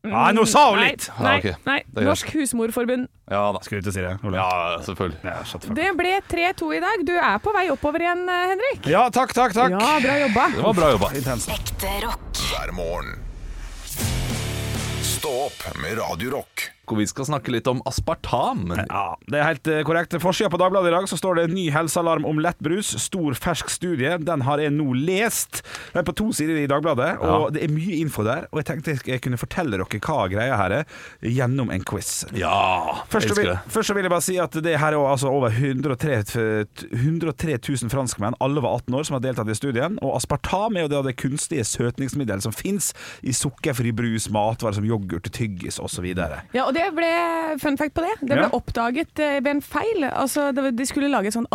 Speaker 4: Nei, nå sa hun litt!
Speaker 5: Nei,
Speaker 3: Ja, Ah, ok.
Speaker 5: nei.
Speaker 3: er greit.
Speaker 5: Norsk Husmorforbund.
Speaker 3: Ja da.
Speaker 4: Skulle du til å si det, Ole?
Speaker 3: Ja, selvfølgelig.
Speaker 4: Ja, shut the fuck up.
Speaker 5: Det ble 3-2 i dag. Du er på vei oppover igjen, eh, Henrik.
Speaker 4: ja, takk, takk, takk.
Speaker 5: Ja, bra jobba.
Speaker 3: Det var bra jobba.
Speaker 4: Intenst.
Speaker 7: Ekte rock.
Speaker 2: hver morgen. Stå opp med Radio Rock.
Speaker 3: Og vi skal snakke litt om aspartam.
Speaker 4: Ja, det er helt eh, korrekt. Forsida på Dagbladet i dag så står det 'Ny helsealarm om lettbrus'. Stor, fersk studie. Den har jeg nå lest. Den er på to sider i Dagbladet, og det er mye info der. Og jeg tenkte jeg kunne fortelle dere hva greia her er, gjennom en quiz.
Speaker 3: Ja,
Speaker 4: Først
Speaker 3: elsker
Speaker 4: så, vil,
Speaker 3: det.
Speaker 4: først så vil jeg bare si at det her er jo altså over 103, f- 103 000 franskmenn, alle var 18 år, som har deltatt i studien. Og aspartam er jo det, av det kunstige søtningsmiddelet som fins i sukkerfri brus, matvarer som yoghurt, tyggis osv.
Speaker 5: Ja, og det ble fun fact på det. Det ble
Speaker 4: Ja.
Speaker 5: oppdaget eh, ved en feil. Altså, det, de skulle lage et sånn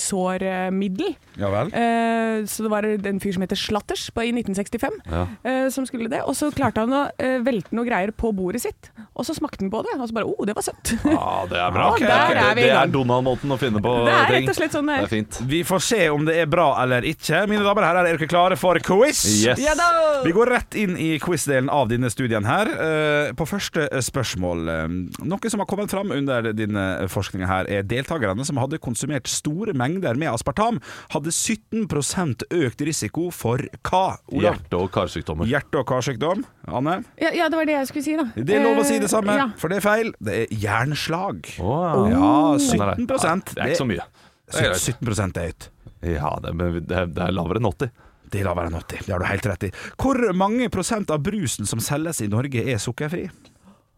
Speaker 5: antimagesårmiddel.
Speaker 4: Ja vel?
Speaker 5: Eh, så det var en fyr som heter Slatters på, i 1965 eh, som skulle det. Og så klarte han å eh, velte noe greier på bordet sitt, og så smakte han på det. Og så bare Å, oh, det var søtt.
Speaker 3: Ja, det er bra.
Speaker 5: Ja, der
Speaker 3: Det-
Speaker 5: er vi i
Speaker 3: det er
Speaker 5: gang.
Speaker 3: Donald-måten å finne på ting.
Speaker 5: Det er rett og slett sånn det
Speaker 3: det
Speaker 5: er.
Speaker 3: er. fint.
Speaker 4: Vi får se om det er bra eller ikke. Mine damer og herrer, er dere klare for quiz?
Speaker 3: Yes.
Speaker 5: Ja da!
Speaker 4: Vi går rett inn i quiz-delen av denne studien her. Eh, På første spørsmål spørsmål. Eh, Noe som har kommet fram under dine forskninger her, er deltakerne som hadde konsumert store mengder med aspartam, hadde 17 økt risiko for hva? Olav?
Speaker 3: Hjerte- og karsykdommer.
Speaker 4: Hjerte- og karsykdom. Anne?
Speaker 5: Ja, ja, det var det jeg skulle si, da.
Speaker 4: Det er lov å si det samme,
Speaker 5: Eh, ja.
Speaker 4: for det er feil. Det er jernslag.
Speaker 3: Åh.
Speaker 4: Ja,
Speaker 3: Sånn er
Speaker 4: 17
Speaker 3: det. Det er ikke så mye. Det er
Speaker 4: Sytt-
Speaker 3: greit.
Speaker 4: 17 er høyt.
Speaker 3: Ja, det er, men det er, det er lavere enn 80.
Speaker 4: Det er lavere enn 80. Det har du helt rett i. Hvor mange prosent av brusen som selges i Norge er sukkerfri?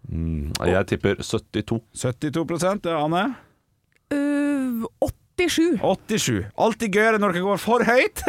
Speaker 3: Jeg tipper 72.
Speaker 4: 72 det er Anne.
Speaker 5: Eh, 87.
Speaker 4: 87. Alltid gøyere når dere går for høyt!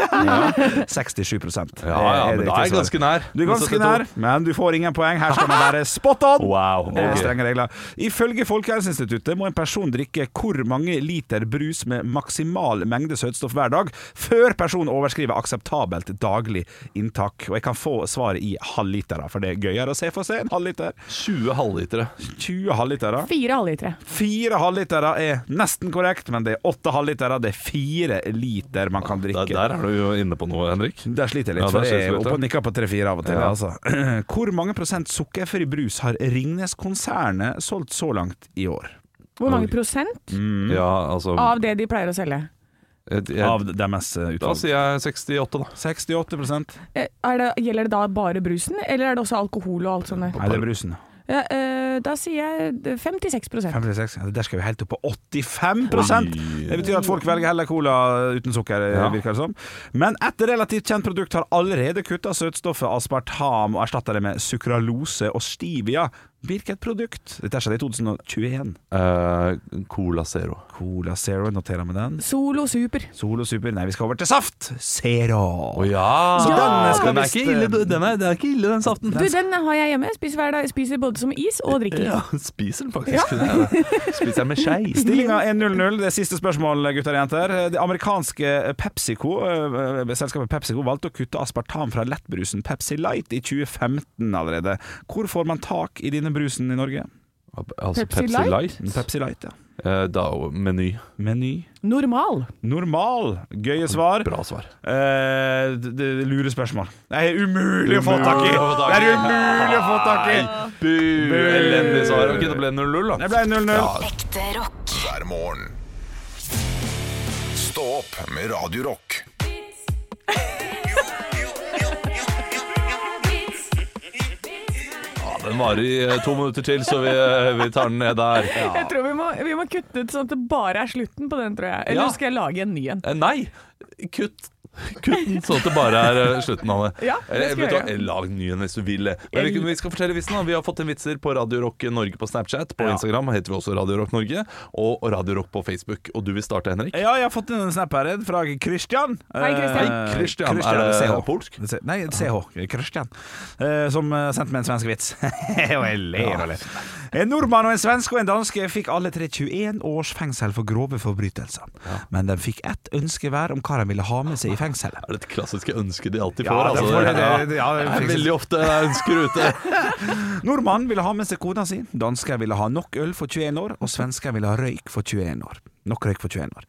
Speaker 4: 67
Speaker 3: Ja, ja, men da er jeg ganske nær.
Speaker 4: Du er ganske nær, men du får ingen poeng. Her skal man være spot on!
Speaker 3: Wow.
Speaker 4: Det er
Speaker 3: ok.
Speaker 4: strenge regler. Ifølge Folkehelseinstituttet må en person drikke hvor mange liter brus med maksimal mengde søtstoff hver dag før personen overskriver akseptabelt daglig inntak. Og jeg kan få svaret i halvlitere, for det er gøyere å se for seg en halvliter.
Speaker 3: 20 halvlitere.
Speaker 4: 20 halvlitere.
Speaker 5: Fire halvlitere.
Speaker 4: Fire halvlitere er nesten korrekt, men det er åtte halvlitere. Det er fire liter man kan drikke.
Speaker 3: Der, der er du jo inne på noe, Henrik.
Speaker 4: Der sliter jeg
Speaker 3: Ja,
Speaker 4: litt, for
Speaker 3: der
Speaker 4: jeg
Speaker 3: sliter
Speaker 4: er
Speaker 3: du litt,
Speaker 4: oppe og
Speaker 3: ja.
Speaker 4: nikker på 3-4 av og til.
Speaker 3: Ja.
Speaker 4: Altså. Hvor mange prosent sukkerfri brus har Ringnes-konsernet solgt så langt i år?
Speaker 5: Hvor mange prosent
Speaker 4: Mm.
Speaker 3: Ja, altså
Speaker 5: Mm. av det de pleier å selge?
Speaker 3: Eh, jeg,
Speaker 4: Av
Speaker 3: jeg,
Speaker 4: deres eh,
Speaker 3: Da
Speaker 4: utvalg?
Speaker 3: sier jeg 68, da.
Speaker 4: 68
Speaker 5: Eh, Er det, gjelder det da bare brusen, eller er det også alkohol og alt sånt?
Speaker 4: Nei, det er brusen.
Speaker 5: Ja, eh, da sier jeg 56 prosent.
Speaker 4: 56. Ja, Der skal vi helt opp på 85 Det betyr at folk velger heller cola uten sukker, eh,
Speaker 3: Ja.
Speaker 4: virker det som. Men et relativt kjent produkt har allerede kutta søtstoffet aspartam og erstatta det med sukralose og stevia. Hvilket produkt? Dette skjedde i 2021.
Speaker 3: Eh, Cola Zero.
Speaker 4: Cola Zero, noterer med den.
Speaker 5: Solo super.
Speaker 4: Solo Super. Nei, vi skal over til saft. Zero.
Speaker 3: Å ja!
Speaker 5: Så den
Speaker 4: skal
Speaker 3: den er
Speaker 4: visst,
Speaker 3: ikke ille, du- den, er, den er ikke ille, den saften.
Speaker 5: Du, den har jeg hjemme. Spiser hver dag. Spiser både som is og drikker.
Speaker 3: Ja, spiser den faktisk. Ja. Spiser den med skei.
Speaker 4: Stillinga er 0-0. Det er siste spørsmål, gutter og jenter. Det amerikanske PepsiCo, eh, selskapet PepsiCo valgte å kutte aspartam fra lettbrusen Pepsi Light i 2015 allerede. Hvor får man tak i denne brusen i Norge?
Speaker 3: Altså Pepsi,
Speaker 5: Pepsi Light?
Speaker 3: Light.
Speaker 4: Pepsi Light, ja.
Speaker 3: Eh, da, meny.
Speaker 4: Meny.
Speaker 5: Normal.
Speaker 4: Normal. Gøye svar.
Speaker 3: Bra svar.
Speaker 4: Eh, d- d- lure spørsmål. Det er umulig å få tak i!
Speaker 3: Umulig å få tak
Speaker 4: Det
Speaker 3: i.
Speaker 4: er umulig å få tak i!
Speaker 3: Bu, elendig svar. Ok, det ble 0-0, da.
Speaker 4: Det ble 0-0.
Speaker 7: Ekte rock.
Speaker 2: hver morgen. Stå opp med Radio Rock.
Speaker 3: Ja, den varer i eh, to minutter til, så vi, eh, vi tar den ned der.
Speaker 5: Jeg tror vi må, vi må kutte ut sånn at det bare er slutten på den, tror jeg. Eller
Speaker 3: Ja.
Speaker 5: skal jeg lage en ny en?
Speaker 3: Eh, Nei! Kutt. Kutt den sånn at det bare er eh, slutten av det.
Speaker 5: Ja, det skal
Speaker 3: Eller, vet
Speaker 5: jeg
Speaker 3: du hva,
Speaker 5: gjøre.
Speaker 3: eh, Lag en ny en hvis du vil. eh. Men vi, vi skal fortelle vitsen. da. Vi har fått en vitser på Radio Rock Norge på Snapchat. På Instagram heter vi også Radio Rock Norge. Og Radio Rock på Facebook. Og du vil starte, Henrik?
Speaker 4: Ja, jeg har fått inn en snap her fra Christian.
Speaker 5: Hei, Christian.
Speaker 4: Eh,
Speaker 3: Christian, er det
Speaker 4: CH.
Speaker 3: polsk?
Speaker 4: Se- Nei, CH. Christian. Eh, som eh, sendte meg en svensk vits. og jeg ler og ler. En nordmann og en svensk og en danske fikk alle tre 21 års fengsel for grove forbrytelser. Men de fikk ett ønske hver om hva de ville ha med seg i fengselet.
Speaker 3: Det er det klassiske ønsket de alltid
Speaker 4: Ja,
Speaker 3: får.
Speaker 4: det
Speaker 3: altså.
Speaker 4: får
Speaker 3: Ja.
Speaker 4: det, det- det- ja, det
Speaker 3: Det er
Speaker 4: fikses.
Speaker 3: veldig ofte ønsker ute.
Speaker 4: Nordmannen ville ha med seg kona si, dansker ville ha nok øl for 21 år, og svensker ville ha røyk for 21 år. Nok røyk for 21 år.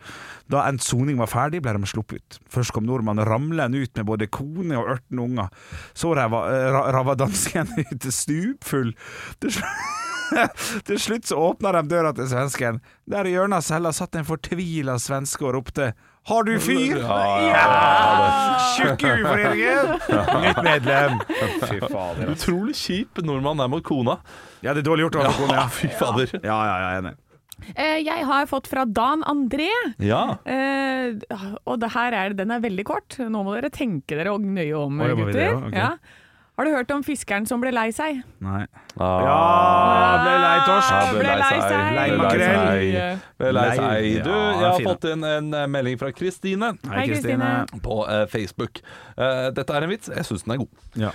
Speaker 4: Da endt soning var ferdig, ble de sluppet ut. Først kom nordmannen ramlende ut med både kone og 18 unger. Så rava, eh, ra- rava dansken ut stupfull. Til slutt, til slutt så åpna de døra til svensken. Der i hjørnet av cella satt en fortvila svenske og ropte Har du fyr? Tjukk uforeningen! Nytt medlem. Fy fader. altså.
Speaker 3: Utrolig kjip nordmann er mot kona.
Speaker 4: Ja, det er dårlig gjort overfor kona.
Speaker 3: Ja, fy fader.
Speaker 4: Ja, ja, ja, enig.
Speaker 5: Eh, jeg har fått fra Dan André.
Speaker 3: Ja.
Speaker 5: Eh, og det her er, den er veldig kort. Nå må dere tenke dere og nøye om,
Speaker 4: Å, jeg må
Speaker 5: gutter.
Speaker 4: videre, ja, ok.
Speaker 5: ja. Har du hørt om fiskeren som ble lei seg?
Speaker 4: Nei.
Speaker 3: Ja,
Speaker 4: ble lei torsk.
Speaker 3: Ja, ble lei seg.
Speaker 4: Lei
Speaker 3: Ble
Speaker 4: makrell.
Speaker 3: seg. Ble lei seg.
Speaker 4: Lei.
Speaker 3: Du,
Speaker 4: Ja,
Speaker 3: jeg har
Speaker 4: fin.
Speaker 3: fått inn en eh, melding fra Kristine
Speaker 5: Hei, Kristine.
Speaker 3: på eh, Facebook. Eh, Dette er en vits. Jeg syns den er god.
Speaker 4: Ja.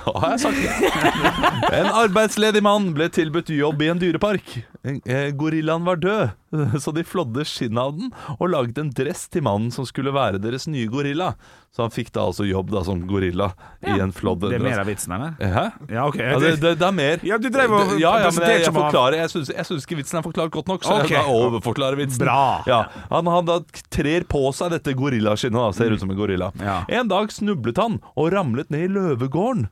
Speaker 3: Da har jeg sagt det. En arbeidsledig mann ble tilbudt jobb i en dyrepark. Eh, Gorillaen var død, så de flådde skinnet av den og laget en dress til mannen som skulle være deres nye gorilla. Så han fikk da altså jobb da som gorilla i
Speaker 5: Ja.
Speaker 3: en flådd
Speaker 4: Det er mer
Speaker 3: dress.
Speaker 4: av vitsen, eller?
Speaker 3: Hæ?
Speaker 4: Ja, OK.
Speaker 3: Ja, det, det, det er mer.
Speaker 4: Ja, du drev og
Speaker 3: Det- ja, ja, men jeg,
Speaker 4: presenterte
Speaker 3: jeg
Speaker 4: som han-
Speaker 3: forklarer Jeg syns, jeg syns ikke vitsen er forklart godt nok, så
Speaker 4: Ok.
Speaker 3: jeg da overforklarer vitsen.
Speaker 4: Bra.
Speaker 3: Ja, han, han da trer på seg dette gorillaskinnet, da, ser ut som en gorilla.
Speaker 4: Ja.
Speaker 3: En dag snublet han og ramlet ned i løvegården.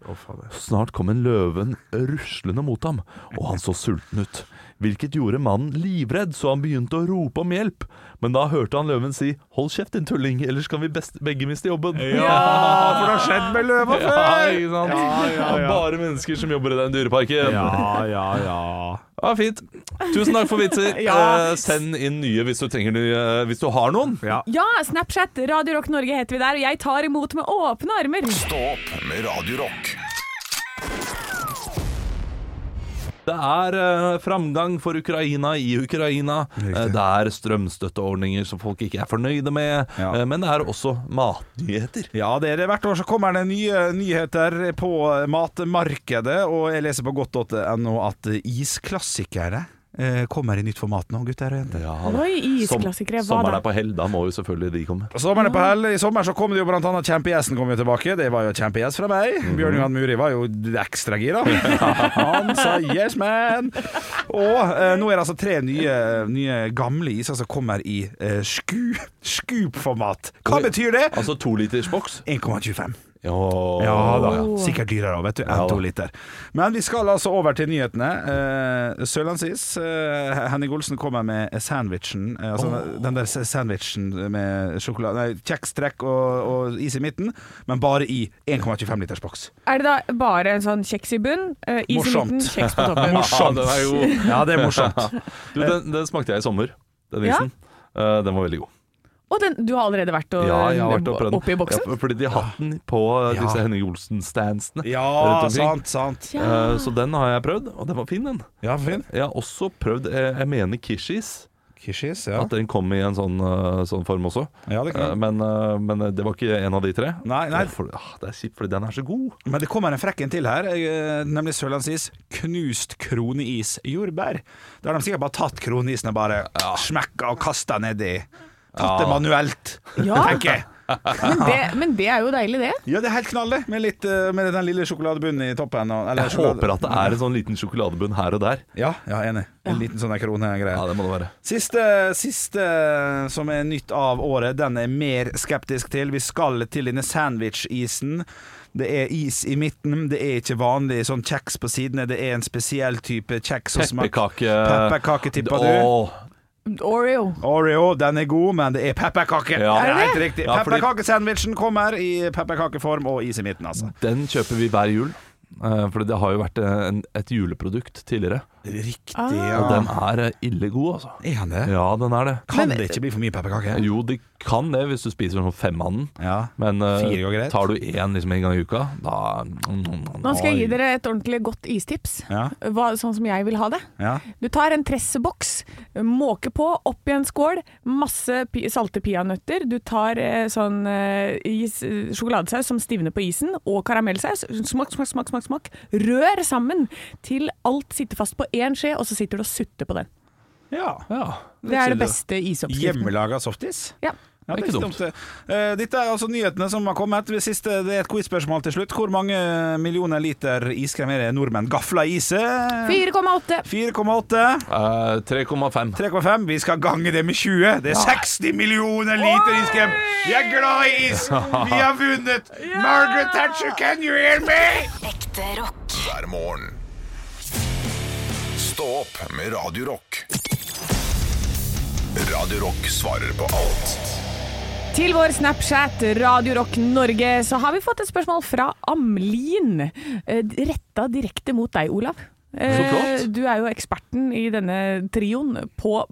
Speaker 3: Snart kom en løven ruslende mot ham, og han så sulten ut. Hvilket gjorde mannen livredd, så han begynte å rope om hjelp. Men da hørte han løven si 'hold kjeft, din tulling, ellers kan vi best begge miste jobben'.
Speaker 4: Ja, for det har skjedd med løva
Speaker 3: Ja,
Speaker 4: før!
Speaker 3: ikke sant? Bare mennesker som jobber i den dyreparken.
Speaker 4: Ja, ja, ja.
Speaker 3: Ja, fint. Tusen takk for vitser.
Speaker 5: Ja.
Speaker 3: Eh, send inn nye hvis du trenger nye, hvis du har noen.
Speaker 4: Ja.
Speaker 5: Ja, Snapchat, Radio Rock Norge heter vi der, og jeg tar imot med åpne armer.
Speaker 2: Stå opp med Radio Rock.
Speaker 3: Det er eh, framgang for Ukraina i Ukraina. Eh, det er strømstøtteordninger som folk ikke er fornøyde med.
Speaker 4: Ja.
Speaker 3: Eh, men det er også matnyheter.
Speaker 4: Ja, det er det. Hvert år så kommer det nye nyheter på matmarkedet, og jeg leser på godt.no at isklassikere eh, kommer i nytt format nå, gutter og jenter.
Speaker 5: Oi, isklassikere. Hva
Speaker 3: Sommeren
Speaker 5: da?
Speaker 3: er på hell, da må jo selvfølgelig de komme.
Speaker 4: Sommeren er på hell. I sommer så kom det jo blant annet Champiesen kom jo tilbake. Det var jo Champies fra meg. Bjørn Johan Muri var jo ekstra gira. Han sa 'yes, man'. Og eh, nå er det altså tre nye, nye gamle iser som kommer i eh, sku, scoop-format. Hva
Speaker 3: Oi.
Speaker 4: betyr det?
Speaker 3: Altså tolitersboks.
Speaker 4: 1,25.
Speaker 3: Oh.
Speaker 4: Ja da. Sikkert dyrere òg, vet du.
Speaker 3: Ja
Speaker 4: Enn
Speaker 3: da.
Speaker 4: to liter. Men vi skal altså over til nyhetene. Eh, Sørlandsis. Eh, Henning Olsen kommer med sandwichen. Eh, altså den der sandwichen med sjokolade Nei, kjekstrekk og, og is i midten, men bare i 1,25 liters boks.
Speaker 5: Er det da bare en sånn kjeks i bunn, eh, is i
Speaker 4: Morsomt.
Speaker 5: midten, kjeks på toppen?
Speaker 3: Morsomt. den er jo
Speaker 4: Ja, det er morsomt.
Speaker 3: Du, den, den smakte jeg i sommer, den
Speaker 5: Ja.
Speaker 3: isen. Eh, den var veldig god.
Speaker 5: Og den, du har allerede vært, og,
Speaker 3: Ja, jeg har vært og prøvd den.
Speaker 5: oppi boksen?
Speaker 3: Ja, fordi de har hatt den på eh,
Speaker 4: Ja.
Speaker 3: disse Henning Olsen-standsene. rundt
Speaker 4: Ja,
Speaker 3: omkring.
Speaker 4: sant, sant.
Speaker 3: Eh, så den har jeg prøvd, og den var fin, den.
Speaker 4: Ja, fin.
Speaker 3: Jeg har også prøvd eh, Jeg mener Kishis.
Speaker 4: Kishis, ja.
Speaker 3: At den kom i en sånn, eh, sånn form også.
Speaker 4: Ja, det kan-
Speaker 3: Eh, men, eh, men det var ikke en av de tre.
Speaker 4: Nei, nei.
Speaker 3: Og For, ah, det er kjipt, fordi den er så god.
Speaker 4: Men det kommer en frekk en til her, eh, nemlig Sørlandsis knust kroneis jordbær. Da har de sikkert bare tatt kroneisen og bare smekka og kasta nedi. Tatt det manuelt,
Speaker 5: Ja.
Speaker 4: tenker jeg.
Speaker 5: Men det, men det er jo deilig, det.
Speaker 4: Ja, det er helt knall, det. Med, litt, eh, med den lille sjokoladebunnen i toppen. Og, eller
Speaker 3: Jeg
Speaker 4: sjokolade-
Speaker 3: håper at det er en sånn liten sjokoladebunn her og der.
Speaker 4: Ja, ja enig. En liten sånn der kronegreie.
Speaker 3: Ja, det må det være.
Speaker 4: Siste, siste som er nytt av året, den er mer skeptisk til. Vi skal til denne sandwich-isen. Det er is i midten, det er ikke vanlig sånn kjeks på sidene, det er en spesiell type kjeks som smaker
Speaker 3: Pepperkake.
Speaker 4: Pepperkake tipper du.
Speaker 3: Åh,
Speaker 5: Oreo.
Speaker 4: Oreo, den er god, men det er pepperkake.
Speaker 3: Ja.
Speaker 4: Det er
Speaker 5: Er
Speaker 4: helt riktig.
Speaker 3: Ja, fordi-
Speaker 4: Pepperkakesandwichen kommer i pepperkakeform og is i midten, altså.
Speaker 3: Den kjøper vi hver jul. eh, Fordi det har jo vært eh, en, et juleprodukt tidligere.
Speaker 4: Riktig,
Speaker 3: Og den er eh, ille god, altså.
Speaker 4: Er han det?
Speaker 3: Ja, den er det.
Speaker 4: Kan det ikke bli for mye pepperkake?
Speaker 3: Jo, de kan det hvis du spiser sånn fem av den.
Speaker 4: Ja.
Speaker 3: Men eh,
Speaker 4: Fire går greit.
Speaker 3: tar du én liksom, en gang i uka, da
Speaker 5: Nå skal jeg gi dere et ordentlig godt istips.
Speaker 4: Ja.
Speaker 5: Hva, sånn som jeg vil ha det.
Speaker 4: ja.
Speaker 5: Du tar en tresseboks, måker på, opp i en skål, masse pi salte peanøtter. Du tar eh, sånn eh, is, eh, sjokoladesaus som stivner på isen, og karamellsaus. Smak, smak, smak, smak, smak. Rør sammen til alt sitter fast på én skje, og så sitter du og sutter på den.
Speaker 4: ja.
Speaker 3: Ja.
Speaker 5: Det er det beste isoppskriften.
Speaker 4: Hjemmelaga softis?
Speaker 5: Ja.
Speaker 4: Ja,
Speaker 3: Det er ikke dumt.
Speaker 4: det. Eh, Dette er altså nyhetene som har kommet. Ved siste, det er et quizspørsmål til slutt. Hvor mange millioner liter iskrem er det nordmenn gafler i seg?
Speaker 5: 4,8.
Speaker 4: 4,8.
Speaker 3: Eh, 3,5.
Speaker 4: 3,5. Vi skal gange det med 20. Det er 60 millioner liter iskrem! Vi er glad i is! Vi har vunnet! Margaret Thatcher, can you hear me?
Speaker 7: Ekte rock.
Speaker 2: hver morgen. Stå opp med Radio Rock. Radio Rock svarer på alt
Speaker 5: Til vår Snapchat, Radio Rock Norge, så har vi fått et spørsmål fra Amlin. eh, Retta direkte mot deg, Olav. Eh,
Speaker 3: flott.
Speaker 5: Du er jo eksperten i denne trioen på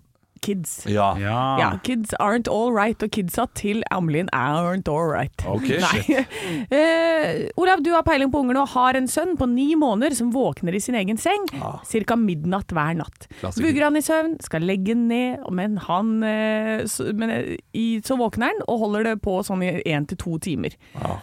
Speaker 5: kids.
Speaker 3: Ja.
Speaker 5: Ja, Kids aren't all right, og kidsa til Amlin aren't all right.
Speaker 3: Ok,
Speaker 5: Nei. Eh, Olav, du har peiling på ungene og har en sønn på ni måneder som våkner i sin egen seng ca. midnatt hver natt.
Speaker 3: Ah. Klassiker.
Speaker 5: Vugger han i søvn, skal legge han ned, men, han, eh, så, men eh, i, så våkner han og holder det
Speaker 3: Ah.
Speaker 5: på sånn i én til to timer.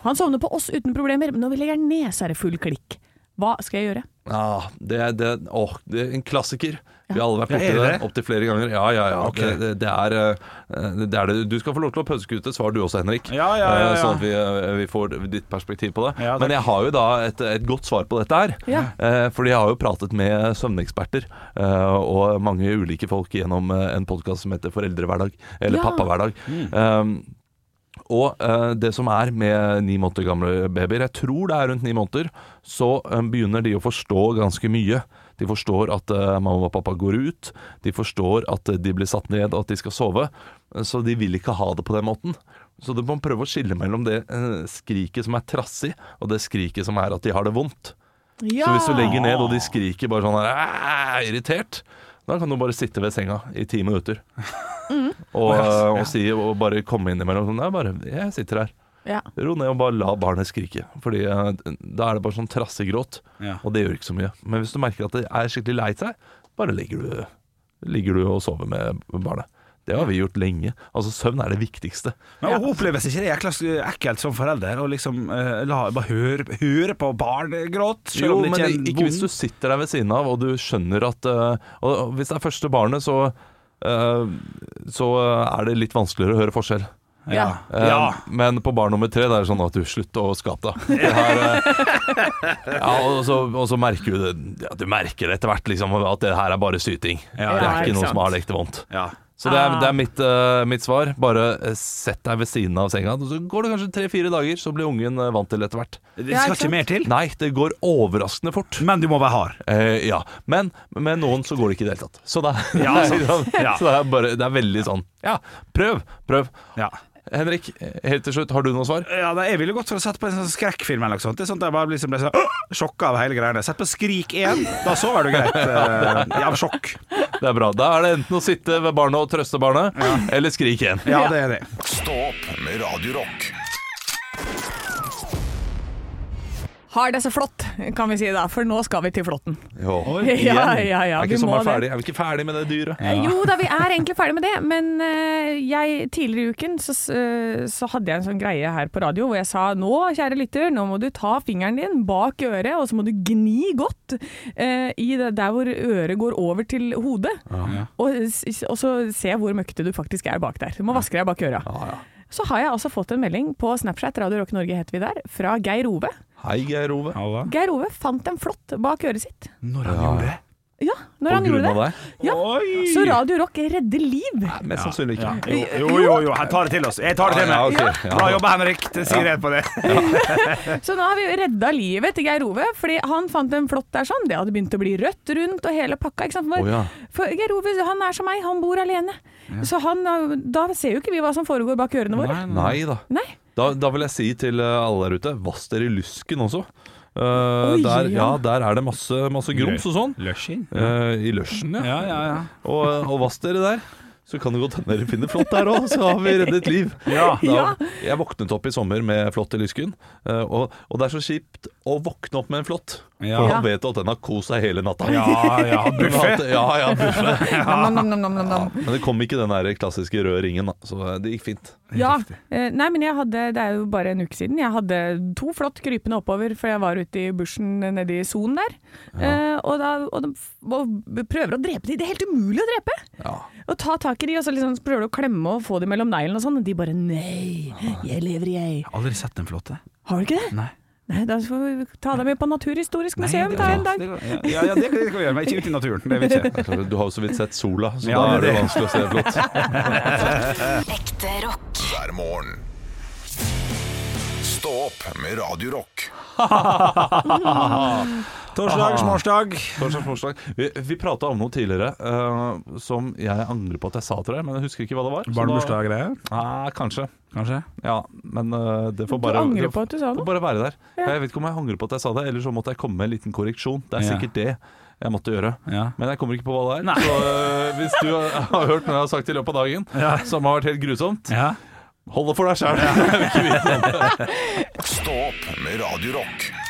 Speaker 5: Han sovner på oss uten problemer, men når vi legger han ned, så er det full klikk. Hva skal jeg gjøre?
Speaker 3: Ja, det, er- det, er- åh, det er en klassiker. Vi har alle vært borti
Speaker 4: Ja, er det
Speaker 3: det
Speaker 4: det?
Speaker 3: opptil flere ganger. Ja, ja, ja.
Speaker 4: Ok.
Speaker 3: Det, det, det, er, eh, det er det. Du skal få lov til å pønske ut et svar du også, Henrik.
Speaker 4: Ja, ja, ja,
Speaker 3: Eh,
Speaker 4: ja.
Speaker 3: Sånn at vi, eh, vi får ditt perspektiv på det.
Speaker 4: Ja, takk.
Speaker 3: Men jeg har jo da et, et godt svar på dette her.
Speaker 5: Ja.
Speaker 3: Eh, Fordi jeg har jo pratet med søvneksperter eh, og mange ulike folk gjennom eh, en podkast som heter Foreldrehverdag, eller
Speaker 5: Ja.
Speaker 3: Pappahverdag. Eh, og eh, det som er med ni måneder gamle babyer, jeg tror det er rundt ni måneder, så eh, begynner de å forstå ganske mye. De forstår at eh, mamma og pappa går ut, de forstår at eh, de blir satt ned og at de skal sove. eh, Så de vil ikke ha det på den måten. Så du må prøve å skille mellom det eh, skriket som er trassig, og det skriket som er at de har det vondt. Så hvis du legger ned og de skriker bare sånn her, «Æ, irritert, da kan du bare sitte ved senga i ti minutter. Og, eh, og, si, og bare komme innimellom sånn Nei, bare jeg sitter her.
Speaker 5: ja.
Speaker 3: Ro ned og bare la barnet skrike. Fordi eh, da er det bare sånn trassegråt,
Speaker 4: Ja.
Speaker 3: og det gjør ikke så mye. Men hvis du merker at det er skikkelig lei seg, bare ligger du, ligger du og sover med barnet. Det har vi gjort lenge. Altså, søvn er det viktigste.
Speaker 4: Men Oppleves ikke det jækla sk- ekkelt som forelder å liksom eh, la, bare høre, høre på barn gråte? Selv
Speaker 3: Jo,
Speaker 4: om det
Speaker 3: men
Speaker 4: ikke er
Speaker 3: ikke,
Speaker 4: en
Speaker 3: ikke hvis du
Speaker 4: vond-
Speaker 3: sitter der ved siden av og du skjønner at eh, og og Hvis det er første barnet, så eh, Så er det litt vanskeligere å høre forskjell.
Speaker 5: Ja.
Speaker 3: Eh,
Speaker 4: Ja.
Speaker 3: Men på barn nummer tre det er det sånn at du slutter å skape deg. Det her, eh, ja, og, så, og så merker du det ja, Du merker det etter hvert liksom, at det her er bare syting. det
Speaker 4: Ja,
Speaker 5: ja,
Speaker 3: er
Speaker 5: ikke
Speaker 3: ikke noe
Speaker 5: sant.
Speaker 3: som har lekt det vondt.
Speaker 4: Ja.
Speaker 3: Så det er,
Speaker 5: Ah.
Speaker 3: det er mitt, eh, mitt svar. Bare eh, sett deg ved siden av senga. og Så går det kanskje tre-fire dager, så blir ungen eh, vant til det etter hvert.
Speaker 4: Det
Speaker 5: Ja,
Speaker 4: skal
Speaker 5: ikke sant?
Speaker 4: ikke mer til.
Speaker 3: Nei, det går overraskende fort.
Speaker 4: Men du må være hard.
Speaker 3: Eh, ja, men med noen så går det ikke i det hele tatt. Så det er,
Speaker 4: Ja,
Speaker 3: det er,
Speaker 4: ja.
Speaker 3: så det er, bare, det er veldig sånn Ja, prøv, prøv.
Speaker 4: Ja.
Speaker 3: Henrik, helt til slutt, har du noe svar?
Speaker 4: Ja, nei, jeg ville gått for å sette på en sånn skrekkfilm eller noe sånt. Det er sånn at jeg bare liksom ble så sjokka av hele greiene. Sett på Skrik 1, da sover du greit. eh, av sjokk.
Speaker 3: Det er bra. Da er det enten å sitte ved barnet og trøste barnet, eller skrik igjen.
Speaker 4: Ja, det er det.
Speaker 2: Stå opp med Radio Rock.
Speaker 5: Har det så flott, kan vi si da, for nå skal vi til flåtten.
Speaker 3: Jo.
Speaker 5: Ja, ja, ja,
Speaker 3: er
Speaker 5: vi
Speaker 3: ikke
Speaker 5: må
Speaker 3: sommeren
Speaker 5: det.
Speaker 3: ferdig? Er vi ikke ferdig med det dyret?
Speaker 5: Eh, Jo da, vi er egentlig ferdig med det, men eh, jeg, tidligere i uken så, s- eh, så hadde jeg en sånn greie her på radio hvor jeg sa nå, kjære lytter, nå må du ta fingeren din bak øret, og så må du gni godt eh, i det der hvor øret går over til hodet, og, s- og så se hvor møkkete du faktisk er bak der. Du må vaske deg bak øra. Så har jeg altså fått en melding på Snapchat, Radio Rock Norge heter vi der, fra Geir Ove.
Speaker 3: Hei, Geir Ove.
Speaker 4: Halla.
Speaker 5: Geir Ove fant en flått bak øret sitt.
Speaker 4: Når han gjorde det?
Speaker 5: Ja, når
Speaker 3: På
Speaker 5: han
Speaker 3: grunn
Speaker 5: gjorde
Speaker 3: av
Speaker 5: det.
Speaker 3: deg?
Speaker 5: Ja.
Speaker 4: Oi!
Speaker 5: Så Radio Rock redder liv.
Speaker 3: Mest sannsynlig ikke.
Speaker 4: Jo, jo, jo, jo, jeg tar det til oss. Jeg tar det til
Speaker 3: Ja,
Speaker 4: meg.
Speaker 3: ja, ok. Ja.
Speaker 4: Bra jobba, Henrik. Det sier jeg på det.
Speaker 5: Så nå har vi redda livet til Geir Ove, fordi han fant en flått der sånn. Det hadde begynt å bli rødt rundt og hele pakka. ikke sant? For,
Speaker 3: Å, ja.
Speaker 5: for Geir Ove han er som meg, han bor alene. Så han, har- da ser jo ikke vi hva som foregår bak ørene våre.
Speaker 3: Nei da.
Speaker 5: Nei.
Speaker 3: da. Da vil jeg si til eh, alle der ute, vask dere i lysken også. Eh, der, ja,
Speaker 5: ja.
Speaker 3: der er det masse, masse grums og sånn.
Speaker 4: Lushing?
Speaker 3: Eh, I lunsjen, ja.
Speaker 4: Ja, ja, ja.
Speaker 3: Og, og vask dere der. Så kan det godt hende dere finner flått der òg, så har vi reddet liv.
Speaker 5: Ja.
Speaker 3: Da, jeg våknet opp i sommer med flått i lysken, eh, og, og det er så kjipt å våkne opp med en flått.
Speaker 4: Ja.
Speaker 3: For han vet jo at den har kost seg hele natta.
Speaker 4: Ja, ja.
Speaker 3: Den har hatt- Ja, ja, buffet.
Speaker 5: Nam, nam, nam, nam, nam, nam.
Speaker 3: Men det kom ikke den der klassiske røde ringen, da, så eh, det gikk fint.
Speaker 5: Ja. Eh, Nei, men jeg hadde, det er jo bare en uke siden, jeg hadde to flått krypende oppover, for jeg var ute i bushen nede i sonen der. Eh, og, da, og de f- og prøver å drepe de. Det er helt umulig å drepe! Og ta tak i de, og så liksom prøver du å klemme og få de mellom neglene og sånn, og de bare nei, jeg lever jeg.
Speaker 4: Aldri sett en flåte.
Speaker 5: Har du ikke det?
Speaker 4: Nei.
Speaker 5: Nei, da får vi ta dem med på Naturhistorisk museum ta en dag.
Speaker 4: Ja, ja, det kan det kan vi gjøre, men ikke ute i naturen. Det vil jeg ikke.
Speaker 3: Det er klart, Du har jo så vidt sett sola, så
Speaker 4: Ja,
Speaker 3: da er
Speaker 4: det er
Speaker 3: det vanskelig å se flått.
Speaker 7: Ekte rock.
Speaker 2: hver morgen. Stå opp med Radio Rock.
Speaker 4: Torsdag, smårsdag.
Speaker 3: Torsdag, torsdag. Vi, vi prata om noe tidligere eh, som jeg angrer på at jeg sa til deg, men jeg husker ikke hva det var. så da-
Speaker 4: Barnebursdag-greier,
Speaker 3: Nei, kanskje.
Speaker 4: kanskje?
Speaker 3: Ja, men eh, det får
Speaker 5: Du
Speaker 3: bare
Speaker 5: angrer
Speaker 3: det
Speaker 5: på at du sa
Speaker 3: får
Speaker 5: noe?
Speaker 3: Bare være der.
Speaker 5: Ja.
Speaker 3: Jeg vet ikke om jeg angrer på at jeg sa det, eller så måtte jeg komme med en liten korreksjon. Det er
Speaker 4: Ja.
Speaker 3: sikkert det jeg måtte gjøre.
Speaker 4: Ja.
Speaker 3: Men jeg kommer ikke på hva det er. Så eh, hvis du har hørt noe jeg har sagt i løpet av dagen
Speaker 4: Ja.
Speaker 3: som har vært helt grusomt,
Speaker 4: ja.
Speaker 3: hold det for deg sjæl.
Speaker 2: Stå opp med Radio Rock.